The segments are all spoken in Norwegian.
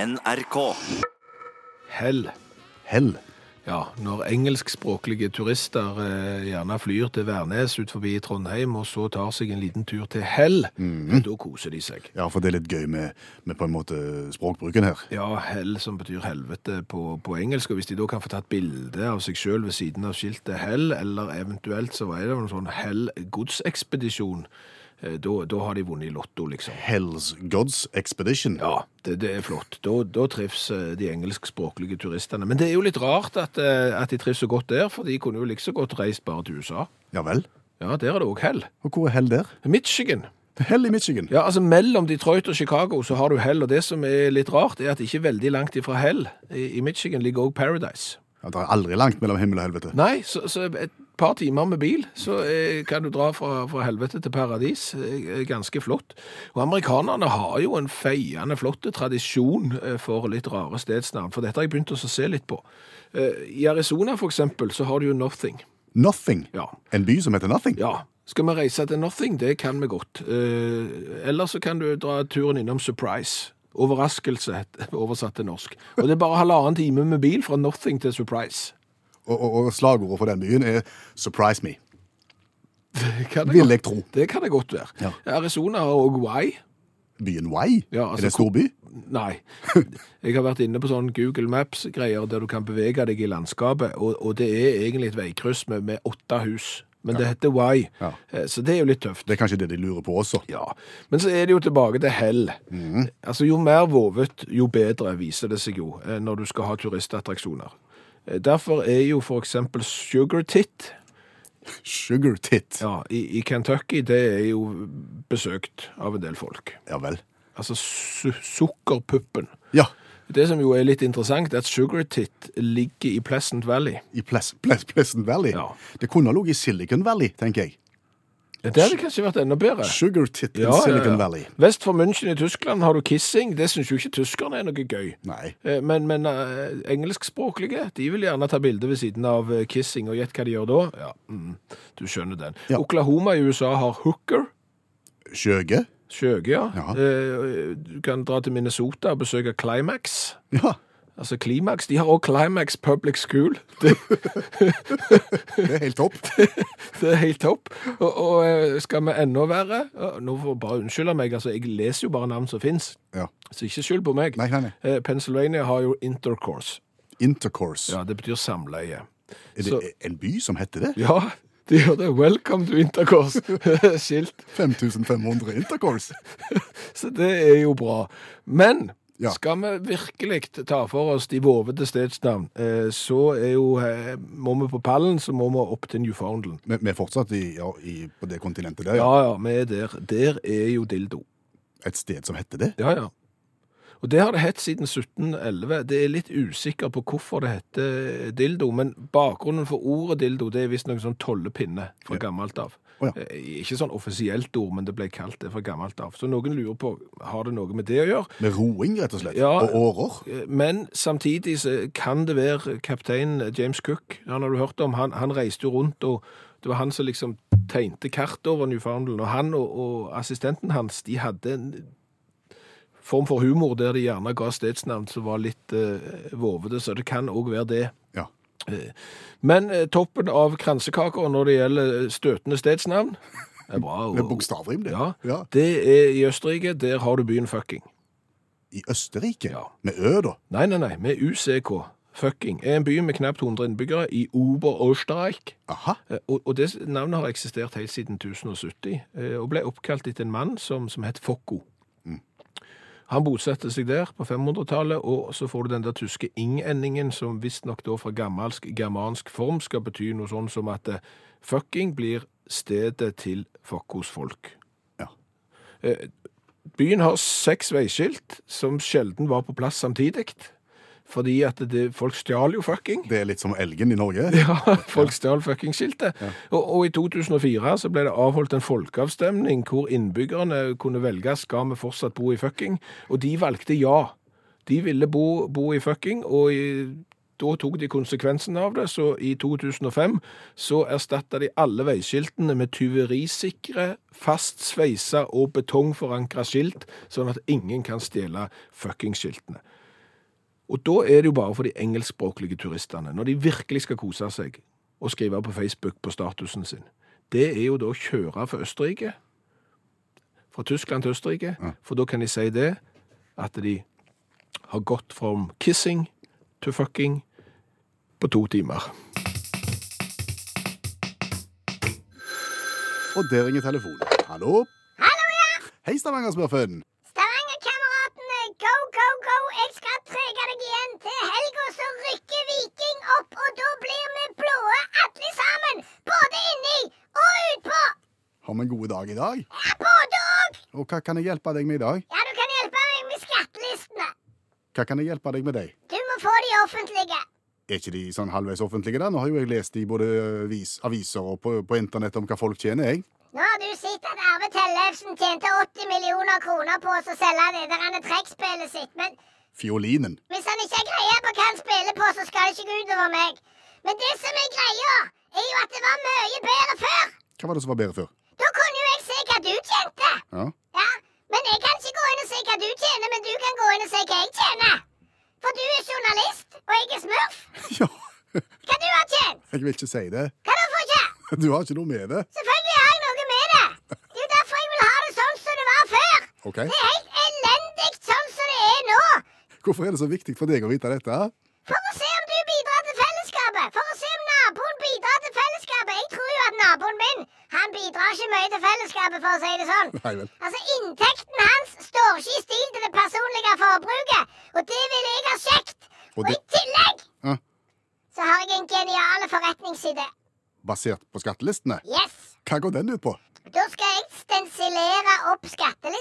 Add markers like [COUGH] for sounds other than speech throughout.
NRK. Hell. Hell. Ja, når engelskspråklige turister eh, gjerne flyr til Værnes ut forbi Trondheim, og så tar seg en liten tur til Hell, da koser de seg. Mm. Ja, for det er litt gøy med, med på en måte språkbruken her. Ja, hell som betyr helvete på, på engelsk, og hvis de da kan få tatt bilde av seg sjøl ved siden av skiltet hell, eller eventuelt så er det en sånn hell godsekspedisjon, eh, da da har de vunnet i lotto, liksom. Hells Gods Expedition. Ja, det, det er flott. Da, da trivs eh, de engelskspråklige turistene. Men det er jo litt rart at, eh, at de trivs så godt der, for de kunne jo like så godt reist bare til USA. Ja vel. Ja, der er det òg hell. Og hvor er hell der? Michigan. Hell i Michigan. Ja, altså Mellom Detroit og Chicago så har du hell, og det som er litt rart, er at ikke veldig langt ifra hell i, i Michigan ligger òg Paradise. Ja, det er aldri langt mellom himmel og helvete. Nei, så, så et par timer med bil, så eh, kan du dra fra, fra helvete til paradis. Eh, ganske flott. Og amerikanerne har jo en feiende flott tradisjon eh, for litt rare stedsnavn, for dette har jeg begynt å se litt på. Eh, I Arizona for eksempel, så har du jo Nothing. Nothing. Ja. En by som heter Nothing. Ja, skal vi reise til Nothing? Det kan vi godt. Eh, eller så kan du dra turen innom Surprise. Overraskelse, [LAUGHS] het- oversatt til norsk. Og det er bare halvannen time med bil fra Nothing til Surprise. Og, og, og slagordet for den byen er 'surprise me'. Kan Vil jeg tro. Det kan det godt være. Arizona har òg Y. Byen Wai? Ja, altså, er det en stor by? Nei. Jeg har vært inne på sånn Google Maps-greier der du kan bevege deg i landskapet, og, og det er egentlig et veikryss med, med åtte hus. Men det heter Y, Ja. Eh, så det er jo litt tøft. Det er kanskje det de lurer på også. Ja, Men så er det jo tilbake til hell. Mm. Altså, Jo mer vovet, jo bedre viser det seg jo eh, når du skal ha turistattraksjoner. Eh, Derfor er jo f.eks. Sugar Tit Sugar tit. Ja, ja, i, i Kentucky det er jo besøkt av en del folk. vel. Altså su sukkerpuppen. Ja, Det som jo er litt interessant, er at Sugartit ligger i Pleasant Valley. i Ples Ples Pleasant Valley. Ja. Det kunne ha ligget i Silicon Valley, tenker jeg. Det hadde kanskje vært enda bedre. Sugar tit Ja, in ja, Silicon ja. Valley. Vest for München i Tyskland har du kissing. Det syns jo ikke tyskerne er noe gøy. Nei. Eh, Men, men eh, engelskspråklige de vil gjerne ta bilde ved siden av eh, kissing, og gjett hva de gjør da? Ja, mm, Du skjønner den. Ja. Oklahoma i USA har hooker. Skjøge? Skjøge, ja. Ja. Eh, Du kan dra til Minnesota og besøke Climax. Ja, Altså Climax. De har òg Climax Public School. [LAUGHS] det er helt topp. Det er helt topp. Og, og eh, skal vi enda verre Ja, Nå får jeg bare unnskylde meg, altså jeg leser jo bare navn som fins, Ja. så ikke skyld på meg. Nei, nei, nei. Eh, Pennsylvania har jo intercourse. Intercourse. Ja, det betyr samleie. Er det Så- en by som heter det? Ja, de gjør det. Welcome to intercourse. [LAUGHS] Skilt. 5500 intercourse. [LAUGHS] Så det er jo bra. Men Ja. skal vi virkelig ta for oss de vovete stedsnavn, eh, så er jo eh, Må vi på pallen, så må vi opp til Newfoundland. Vi vi er fortsatt i, ja, i, på det kontinentet der, Ja ja. ja, vi er der. Der er jo dildo. Et sted som heter det. Ja, ja. Og det har det hett siden 1711. Det er litt usikker på hvorfor det heter eh, dildo, men bakgrunnen for ordet dildo det er visst noen sånn tollepinne fra gammelt av. Å, ja. Eh, Ikke sånn offisielt ord, men det ble kalt det fra gammelt av. Så noen lurer på har det noe med det å gjøre. Med roing, rett og slett. Ja. Og årer. Eh, Men samtidig så kan det være kaptein James Cook. Han har du hørt om. Han, han reiste jo rundt, og det var han som liksom tegnte kart over Newfoundland. Og han og, og assistenten hans de hadde en form for humor der de gjerne ga stedsnavn som var litt eh, vovete, så det kan òg være det. Ja. Men eh, toppen av kransekaka når det gjelder eh, støtende stedsnavn er bra. Med bokstavrim, det. Ja, Ja. Det er i Østerrike. Der har du byen fucking. I Østerrike. Ja. Med ø, da. Nei, nei, nei, med UCK. Fucking. Er en by med knapt 100 innbyggere i Ober-Osterreich. Aha. Eh, Og, og det navnet har eksistert helt siden 1070, eh, og ble oppkalt etter en mann som, som het Fokko. Han bosatte seg der på 500-tallet, og så får du den der tyske ing-endingen, som visstnok da fra gammelsk germansk form skal bety noe sånn som at eh, fucking blir stedet til Fokkos folk. Ja. Eh, Byen har seks veiskilt, som sjelden var på plass samtidig, fordi at det, folk stjal jo fucking. Det er litt som elgen i Norge. Ja, folk stjal fuckingskiltet. Og, og i 2004 så ble det avholdt en folkeavstemning hvor innbyggerne kunne velge skal vi fortsatt bo i fucking, og de valgte ja. De ville bo, bo i fucking, og i, da tok de konsekvensen av det. Så i 2005 så erstatta de alle veiskiltene med tyverisikre, fastsveisa og betongforankra skilt, sånn at ingen kan stjele fuckingskiltene. Og da er det jo bare for de engelskspråklige turistene, når de virkelig skal kose seg og skrive på Facebook på statusen sin. Det er jo da å kjøre fra Østerrike, fra Tyskland til Østerrike, for da kan de si det, at de har gått from kissing to fucking på to timer. Og der ringer telefonen. Hallo? Hallo, ja! Hei, Stavanger-smurfen. Stavanger-kameratene, go, go, go! Jeg skal trege deg igjen. Til helga så rykker Viking opp, og da blir vi blåe alle sammen. Både inni og utpå. Har vi en god dag i dag? Ja, både og. Og hva kan jeg hjelpe deg med i dag? Ja, du kan hjelpe meg med skattelistene. Hva kan jeg hjelpe deg med deg? Du må få de offentlige. Er ikke de sånn halvveis offentlige da? Nå har jo jeg lest i både avis, aviser og på, på internett om hva folk tjener, jeg. Nå har du sett at Arve Tellefsen tjente 80 millioner kroner på å selge det der han er trekkspillet sitt, men Fiolinen. Hvis han ikke har greie på hva han spiller på, så skal det ikke gå utover meg. Men det som er greia, er jo at det var mye bedre før. Hva var det som var bedre før? Da kunne jo jeg se hva du tjente. Ja. [LAUGHS] Ja, Men jeg kan ikke gå inn og se hva du tjener, men du kan gå inn og se hva jeg tjener. For du er journalist, og jeg er smurf. ja. Hva du har tjent? Jeg vil ikke si det. Hva da, for ikke? Du har ikke noe med det. Selvfølgelig har jeg noe med det. Det er jo derfor jeg vil ha det sånn som det var før. Ok. Det er helt elendig sånn som det er nå. Hvorfor er det så viktig for deg å vite dette? For å se om du bidrar til fellesskapet! For å se om naboen bidrar til fellesskapet! Jeg tror jo at naboen min han bidrar ikke mye til fellesskapet, for å si det sånn. Nei vel. Altså, Inntekten hans står ikke i stil til det personlige forbruket, og det vil jeg ha kjekt! Og Og i det- tillegg Ja. så har jeg en genial forretningsidé. Basert på skattelistene? Yes! Hva går den ut på? Da skal jeg stensilere opp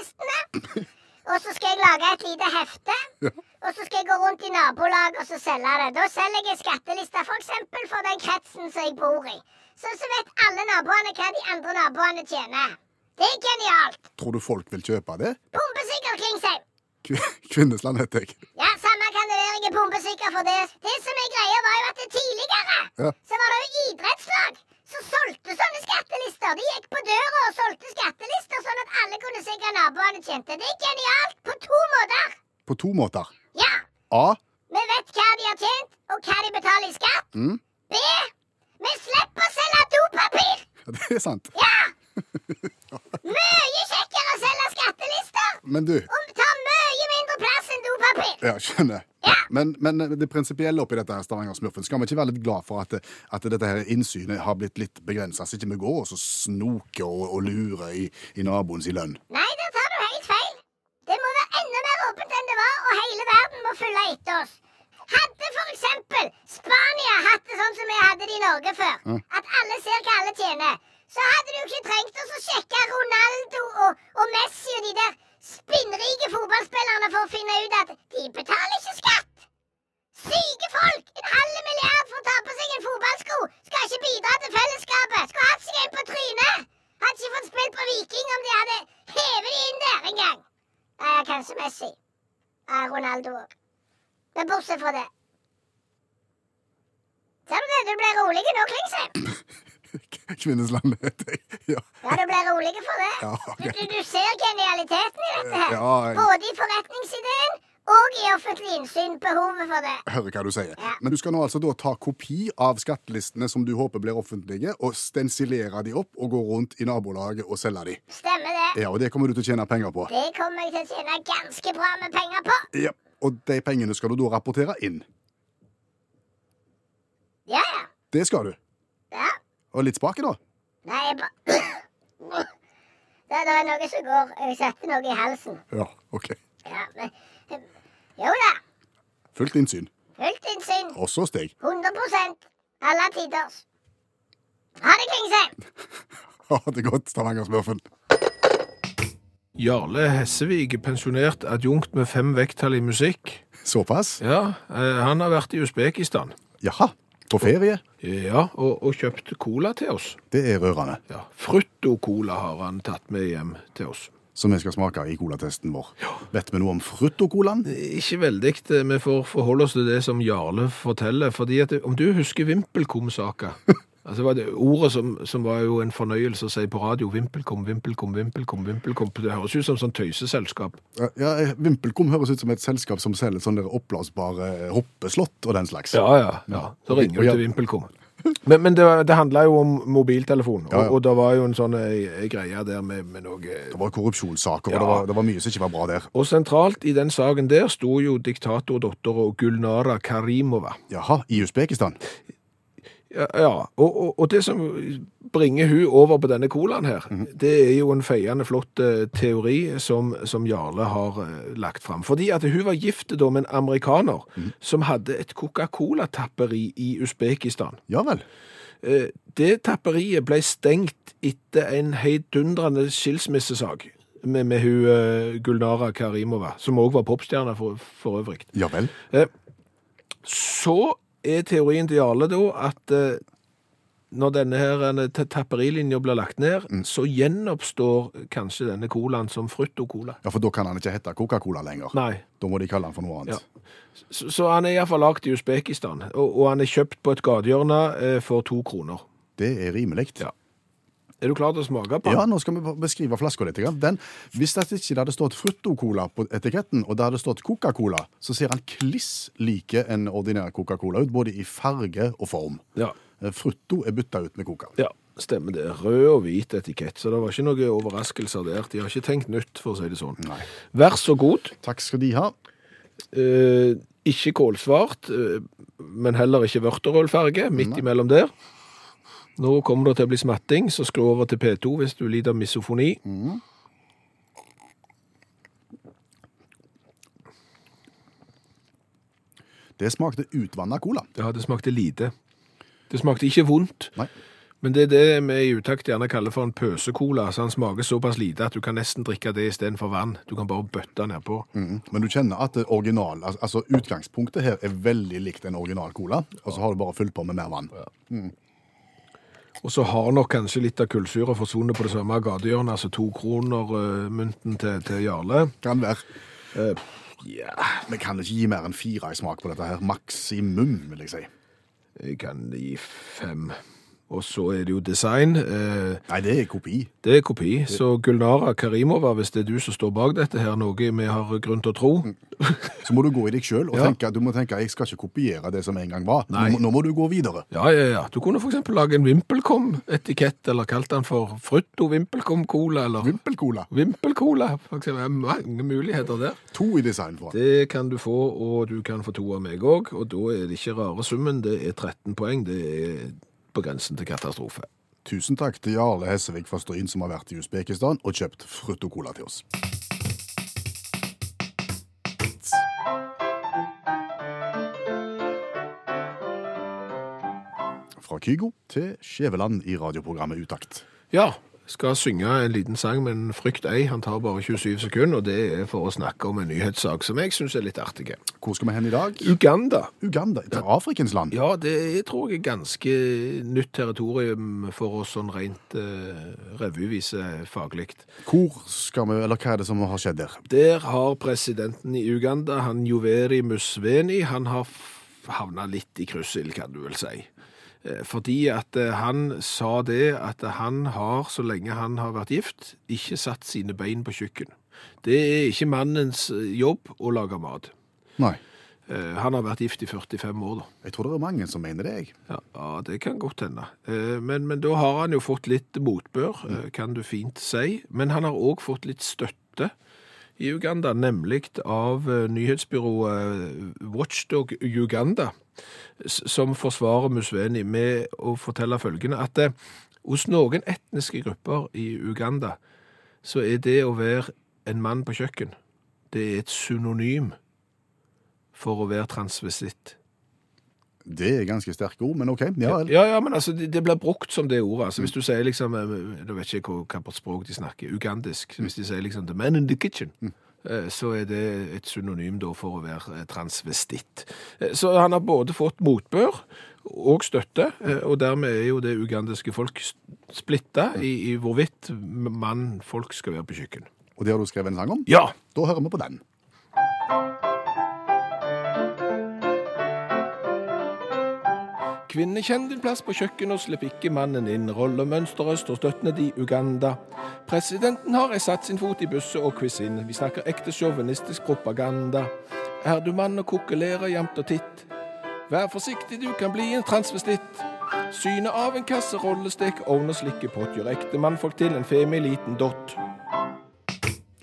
skattelistene. Og så skal jeg lage et lite hefte. Ja. Og så skal jeg gå rundt i nabolaget og så selge det. Da selger jeg skattelister f.eks. For, for den kretsen som jeg bor i. Så, så vet alle naboene hva de andre naboene tjener. Det er genialt! Tror du folk vil kjøpe det? Bombesikker Klingsheim. Kv- [LAUGHS] Kvinnesland heter jeg. Ja, samme kan det være jeg er bombesikker for det. Det som er greia, var jo at det tidligere Ja. så var det jo idrettslag som solgte sånne skattelister. De gikk på døra og solgte skattelister, sånn at alle kunne se hva naboene tjente. Det er genialt på to måter. På to måter. Ja, A. [LAUGHS] vi vet hva de har tjent, og hva de betaler i skatt. Mm. B. Vi slipper å selge dopapir. Ja, Det er sant. Ja! Mye kjekkere å selge skattelister. Men du Og tar mye mindre plass enn dopapir. Ja, skjønner. Ja. Men, men det prinsipielle oppi dette her, Stavanger-smurfen, skal vi ikke være litt glad for at, at dette her innsynet har blitt litt begrensa, så ikke vi går og så snoker og, og lurer i, i naboens i lønn? [LAUGHS] Nei, der tar du helt feil. Det må være enda mer åpent enn det var, og hele verden må følge etter oss. Hadde for eksempel Spania hatt det sånn som vi hadde det i Norge før, Mm. at alle ser hva alle tjener, så hadde du ikke trengt oss å sjekke Ronaldo og, og Messi og de der spinnrike fotballspillerne for å finne ut at de betaler ikke skatt. Syke folk! En halv milliard for å ta på seg en fotballsko! Skal ikke bidra til fellesskapet! Skulle hatt seg en på trynet! Hadde ikke fått spilt på Viking om de hadde hevet de inn der engang! Ja, kanskje Messi. Ja, Ronaldo òg. Men bortsett fra det. Ser du det? Du ble rolig nå, Klingsheim. Kvinnesland heter jeg. Ja. Ja, du ble rolig for det. Ja, ok. du, du, du ser genialiteten i dette her. Ja, jeg- Både i forretningsideen og i offentlig innsyn. Behovet for det. Hører hva du sier. Ja. Men du skal nå altså da ta kopi av skattelistene som du håper blir offentlige, og stensilere de opp og gå rundt i nabolaget og selge de. Stemmer det. Ja, og det kommer du til å tjene penger på. Det kommer jeg til å tjene ganske bra med penger på. Ja. Og de pengene skal du da rapportere inn. Ja, ja. Det skal du. ja. Og litt spake, da. Nei, jeg [COUGHS] bare det, det er noe som går. Jeg setter noe i halsen. Ja, OK. Ja, men Jo da. Fullt innsyn. Fullt innsyn. Også hos deg. [LAUGHS] 100 Alle tiders. Ha det, Klingsheim. Ha det godt, Stavanger-smurfen. Jarle Hessevik, pensjonert adjunkt med fem vekttall i musikk. Såpass? Ja, eh, han har vært i Usbekistan. Jaha. På ferie? Ja, og, og kjøpt cola til oss. Det er rørende. Ja, Frutto-cola har han tatt med hjem til oss. Som vi skal smake i colatesten vår. Vet vi noe om fruttokolaen? Ikke veldig, eh, vi får forholde oss til det som Jarle forteller, fordi at om du husker Vimpelkom-saka, [LAUGHS] Altså, det var det ordet som, som var jo en fornøyelse å si på radio. Vimpelkom, vimpelkom, vimpelkom, vimpelkom. Det høres ut som sånn tøyseselskap. Ja, Eh, ja, Vimpelkom høres ut som et selskap som selger sånne der oppblåsbare eh, hoppeslott og den slags. Ja, ja. ja. Så ringer du til Vimpelkom. Men, men det, det handla jo om mobiltelefon, og, Ja, ja. og det var jo en sånn eh, greie der med, med noe Det var Ja. korrupsjonssaker, og det var, det var mye som ikke var bra der. Og sentralt i den saken der sto jo diktatordattera Gulnara Karimova. Jaha, i Usbekistan. Ja, ja. Og, og, og det som bringer hun over på denne colaen her, det er jo en feiende flott eh, teori som, som Jarle har eh, lagt fram. Fordi at hun var gift da med en amerikaner som hadde et Coca-Cola-tapperi i Usbekistan. Ja vel. Eh, Det tapperiet ble stengt etter en heidundrende skilsmissesak med, med hun eh, Gulnara Karimova, som òg var popstjerne for, for øvrig. Ja vel. Så er teorien til Jarle da at eh, når denne her eh, ta- tapperilinja blir lagt ned, så gjenoppstår kanskje denne colaen som frutto-cola. Ja, For da kan han ikke hete Coca-Cola lenger. Nei. Da må de kalle han for noe annet. Så, så han er iallfall lagd i Usbekistan, og, og han er kjøpt på et gatehjørne eh, for to kroner. Det er rimelig. Ja. Er du klar til å smake på den? Ja, nå skal vi beskrive flaska litt. grann. Den, hvis det ikke hadde stått Frutto-Cola på etiketten, og det hadde stått Coca-Cola, så ser han kliss like en ordinær Coca-Cola ut, både i farge og form. Ja. Eh, Frutto er bytta ut med Coca. Ja, stemmer det. Rød og hvit etikett, så det var ikke noen overraskelser der. De har ikke tenkt nytt, for å si det sånn. Nei. Vær så god. Takk skal de ha. Eh, ikke kålsvart, eh, men heller ikke vørterølfarge, midt imellom der. Nå kommer det til å bli smatting, så skru over til P2 hvis du lider av misofoni. Det smakte utvanna cola. Ja, det smakte lite. Det smakte ikke vondt, Nei. men det er det vi i utakt gjerne kaller for en pøsekola, så han smaker såpass lite at du kan nesten drikke det istedenfor vann. Du kan bare bøtte nedpå. Mm. Men du kjenner at det original, al- altså utgangspunktet her er veldig likt en original cola, og så har du bare fylt på med mer vann. Og så har nok kanskje litt av kullsyra forsvunnet på det samme gatehjørnet, altså to kroner eh, mynten til, til Jarle. Kan være. Ja, Vi kan ikke gi mer enn fire i smak på dette her. Maksimum, vil jeg si. jeg kan gi fem. Og så er det jo design. Eh, Nei, det er kopi. Det er kopi, så Gulnara Karimova, hvis det er du som står bak dette her, noe vi har grunn til å tro. Så må du gå i deg sjøl og Ja. tenke du må tenke, jeg skal ikke kopiere det som en gang var. Nå, Nei. må- nå må du gå videre. Ja, ja, ja. Du kunne for eksempel lage en Vimpelkom-etikett, eller kalt den for Frutto Vimpelkom-cola, eller Vimpelcola. Vimpel-cola. for eksempel. Det er mange muligheter der. To i design for. Det kan du få, og du kan få to av meg òg. Og da er det ikke rare summen, det er 13 poeng. Det er på grensen til katastrofe. Tusen takk til Jarle Hessevik fra Stryn som har vært i Usbekistan og kjøpt fruttokola til oss. Fra Kygo til Skjæveland i radioprogrammet Utakt. Ja, skal synge en liten sang, men frykt ei, han tar bare 27 sekunder, og det er for å snakke om en nyhetssak som jeg syns er litt artig. Hvor skal vi hen i dag? Uganda. Uganda, til Afrikens land. Ja, det er, tror jeg er ganske nytt territorium for oss sånn rent eh, revyvise faglig. Hvor skal vi, eller hva er det som har skjedd der? Der har presidenten i Uganda, han Joveri Musveni, han har f- havna litt i kryssild, kan du vel si. Eh, Fordi at eh, han sa det at han har, så lenge han har vært gift, ikke satt sine bein på kjøkken. Det er ikke mannens eh, jobb å lage mat. Nei, Eh, Han har vært gift i 45 år, da. jeg tror det er mange som mener det, jeg. Ja, ja, det kan godt hende. Eh, Men, men da har han jo fått litt motbør, eh, kan du fint si. Men han har òg fått litt støtte i Uganda, nemlig av eh, nyhetsbyrået Watchdog Uganda, s- som forsvarer Musveni med å fortelle følgende at eh, hos noen etniske grupper i Uganda så er det å være en mann på kjøkken, det er et synonym for å være transvestitt. Det er ganske sterke ord, men ok. Ja, vel. Ja, ja, men altså, det, det blir brukt som det ordet. Altså, hvis du sier liksom eh, Nå vet jeg ikke hva- hva språk de snakker, ugandisk. så Hvis de sier liksom 'the man in the kitchen', eh, så er det et synonym da for å være eh, transvestitt. Eh, Så han har både fått motbør og støtte, eh, og dermed er jo det ugandiske folk s- splitta i, i hvorvidt mann folk skal være på kjøkken. Og det har du skrevet en sang om? Ja! Da hører vi på den. Kvinne, kjenn din plass på kjøkkenet og slipp ikke mannen inn. Rollemønsteret står støttende i Uganda. Presidenten har satt sin fot i busset og quiz inn. Vi snakker ekte sjåvinistisk propaganda. Er du mann og kokelerer jevnt og titt? Vær forsiktig, du kan bli en transvestitt. Synet av en kasserollestek, ovn og slikkepott gjør ekte mannfolk til en femiliten dott.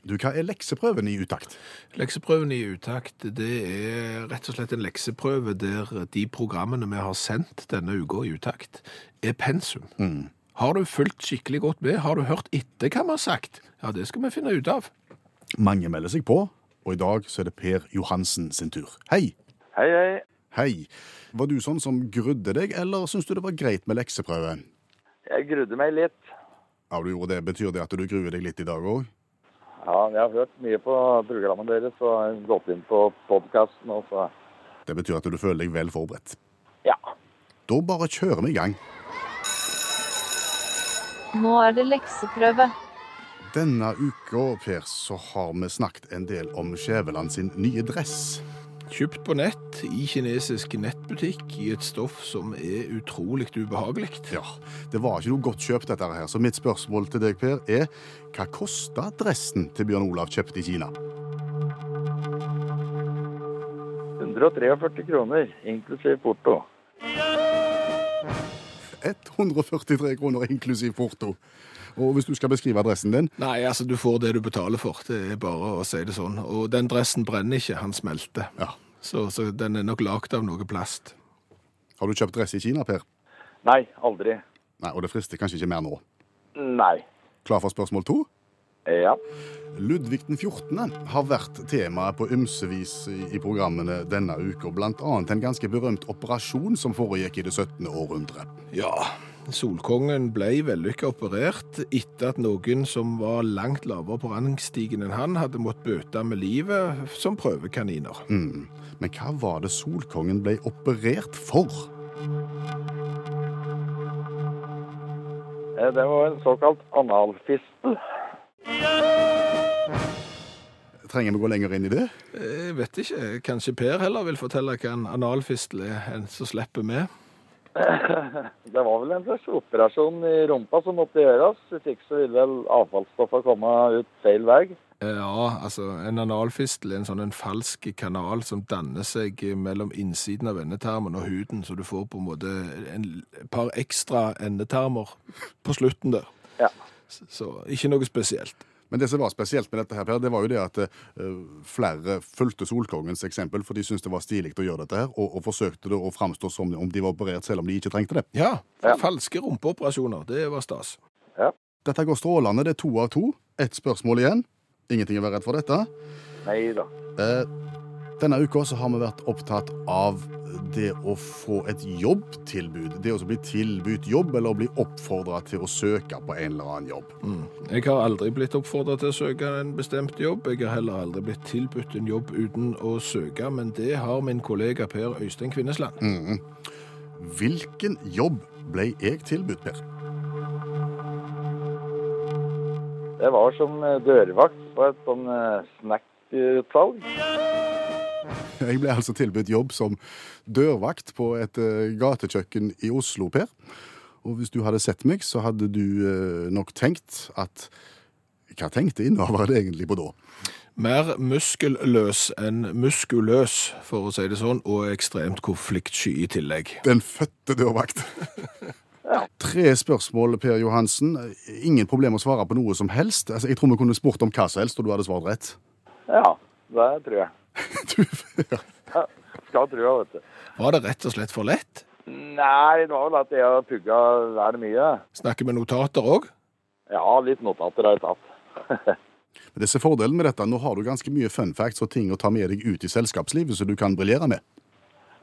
Du, hva er lekseprøven i utakt? Lekseprøven i utakt, det er rett og slett en lekseprøve der de programmene vi har sendt denne uka i utakt, er pensum. Har du fulgt skikkelig godt med? Har du hørt etter hva vi har sagt? Ja, det skal vi finne ut av. Mange melder seg på, og i dag så er det Per Johansen sin tur. Hei! Hei, hei. Hei. Var du sånn som grudde deg, eller syns du det var greit med lekseprøve? Jeg grudde meg litt. Ja, du gjorde det. Betyr det at du gruer deg litt i dag òg? Ja, jeg har hørt mye på programmet deres og jeg har gått inn på podkasten og så Det betyr at du føler deg vel forberedt. Ja. Da bare kjører vi i gang. Nå er det lekseprøve. Denne uka, Per, så har vi snakket en del om Skjæveland sin nye dress. Kjøpt på nett, i kinesisk nettbutikk, i et stoff som er utrolig ubehagelig. Ja, Det var ikke noe godt kjøp, dette her, så mitt spørsmål til deg, Per, er hva kosta dressen til Bjørn Olav kjøpt i Kina? 143 kroner, inklusiv porto. 143 kroner inklusiv porto. Og hvis du skal beskrive dressen din Nei, altså, du får det du betaler for. Det er bare å si det sånn. Og den dressen brenner ikke, han smelter. Ja. Så, så den er nok lagd av noe plast. Har du kjøpt dress i Kina, Per? Nei, aldri. Nei, Og det frister kanskje ikke mer nå. Nei. Klar for spørsmål to? Ja. Ludvig den 14. har vært temaet på ymse vis i i programmene denne uka, bl.a. en ganske berømt operasjon som foregikk i det 17. århundret. Ja, Solkongen ble vellykka operert etter at noen som var langt lavere på rangstigen enn han, hadde måttet bøte med livet som prøvekaniner. Mm. Men hva var det Solkongen ble operert for? Eh, Det var en såkalt analfistel. Trenger vi gå lenger inn i det? Jeg Eh, vet ikke, kanskje Per heller vil fortelle hva en analfistel er, en som slipper med? Det var vel en slags operasjon i rumpa som måtte gjøres. Hvis ikke så ville vel avfallsstoffet komme ut feil vei. Ja, altså en analfistel er en sånn en falsk kanal som danner seg mellom innsiden av endetarmen og huden, så du får på en måte en et par ekstra endetarmer på slutten der. Ja. Så, så ikke noe spesielt. Men det som var spesielt med dette, her, Per, det var jo det at eh, flere fulgte Solkongens eksempel, for de syntes det var stilig å gjøre dette her, og, og forsøkte det å framstå som om de var operert, selv om de ikke trengte det. Ja, Ja. falske rumpeoperasjoner, det var stas. Dette går strålende. Det er to av to. Ett spørsmål igjen. Ingenting å være redd for dette. Nei da. Eh, Denne uka så har vi vært opptatt av det å få et jobbtilbud. Det å bli tilbudt jobb, eller å bli oppfordra til å søke på en eller annen jobb. Jeg har aldri blitt oppfordra til å søke en bestemt jobb. Jeg har heller aldri blitt tilbudt en jobb uten å søke, men det har min kollega Per Øystein Kvinnesland. Mhm. Hvilken jobb ble jeg tilbudt, Per? Det var som eh, dørvakt på et sånn eh, snackutsalg. [LAUGHS] Jeg ble altså tilbudt jobb som dørvakt på et eh, gatekjøkken i Oslo, Per. Og hvis du hadde sett meg, så hadde du eh, nok tenkt at Hva tenkte innehaveren egentlig på da? Mer muskelløs enn muskuløs, for å si det sånn, og ekstremt konfliktsky i tillegg. Den fødte dørvakt. Tre spørsmål, Per Johansen. Ingen problem å svare på noe som helst. Altså, jeg tror vi kunne spurt om hva som helst, og du hadde svart rett. [LAUGHS] Ja, det tror jeg. Du, ja. Ja, Skal tro jeg, vet du. Var det rett og slett for lett? Nei, det var vel at jeg har pugga vel mye. Snakker vi notater òg? Ja, litt notater har jeg tatt. Men det som er fordelen med dette. Nå har du ganske mye fun facts og ting å ta med deg ut i selskapslivet som du kan briljere med.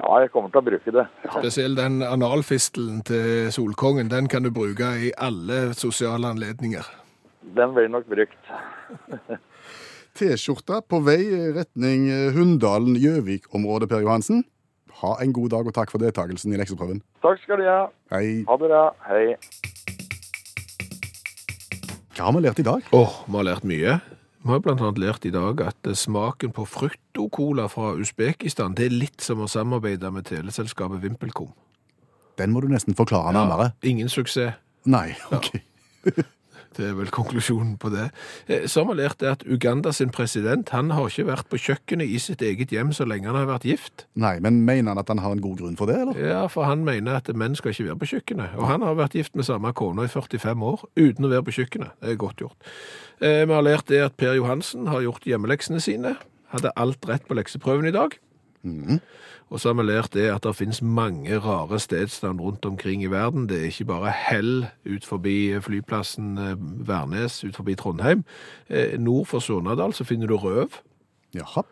Ja, jeg kommer til å bruke det. Spesielt den analfistelen til Solkongen, den kan du bruke i alle sosiale anledninger. Den blir nok brukt. T-skjorta på vei retning Hunndalen-Gjøvik-området, Per Johansen. Ha en god dag, og takk for deltakelsen i lekseprøven. Takk skal du ha. Hei. Ha det bra. Hei. Hva har vi lært i dag? Åh, vi har lært mye. Vi har blant annet lært i dag at eh, smaken på fruktokola fra Usbekistan, det er litt som å samarbeide med teleselskapet VimpelCom. Den må du nesten forklare nærmere. Ingen suksess. Nei, ok. Det er vel konklusjonen på det. Eh, Så har vi lært det at Uganda sin president han har ikke vært på kjøkkenet i sitt eget hjem så lenge han har vært gift. Nei, Men mener han at han har en god grunn for det, eller? Ja, for han mener at menn skal ikke være på kjøkkenet. Og han har vært gift med samme kone i 45 år uten å være på kjøkkenet. Det er godt gjort. Eh, Vi har lært det at Per Johansen har gjort hjemmeleksene sine. Hadde alt rett på lekseprøven i dag. Og så har vi lært det at det finnes mange rare stedsnavn rundt omkring i verden. Det er ikke bare Hell ut forbi flyplassen eh, Værnes ut forbi Trondheim. Eh, Nord for Surnadal så finner du Røv. Jaha,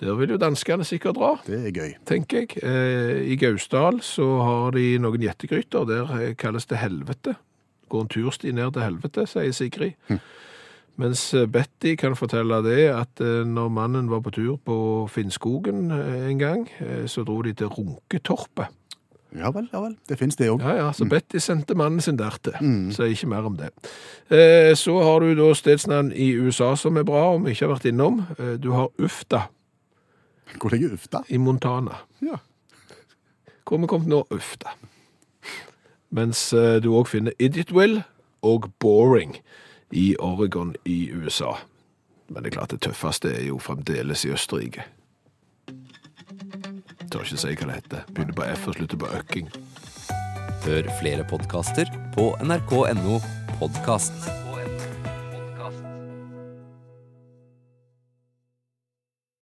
Der vil jo danskene sikkert dra det er gøy. tenker jeg. Eh, I Gausdal så har de noen gjettegryter. Der eh, kalles det helvete. Går en tursti ned til helvete, sier Sigrid. Mens eh, Betty kan fortelle det at eh, når mannen var på tur på Finnskogen eh, en gang, eh, så dro de til Runketorpet. Ja vel, ja vel. Det fins det òg. Ja, ja, så Betty sendte mannen sin der til. Så ikke mer om det. Eh, så har du da stedsnavn i USA som er bra, om vi ikke har vært innom. Eh, du har Ufta Hvor ligger Ufta? i Montana. Ja. Hvor vi kom til nå, uff da. Mens eh, du òg finner Idiotwill og Boring i Oregon i USA. Men det er klart det tøffeste er jo fremdeles i Østerrike. Tør ikke si hva det heter. Begynner på F og slutter på Økking. Hør flere podkaster på nrk.no podkast.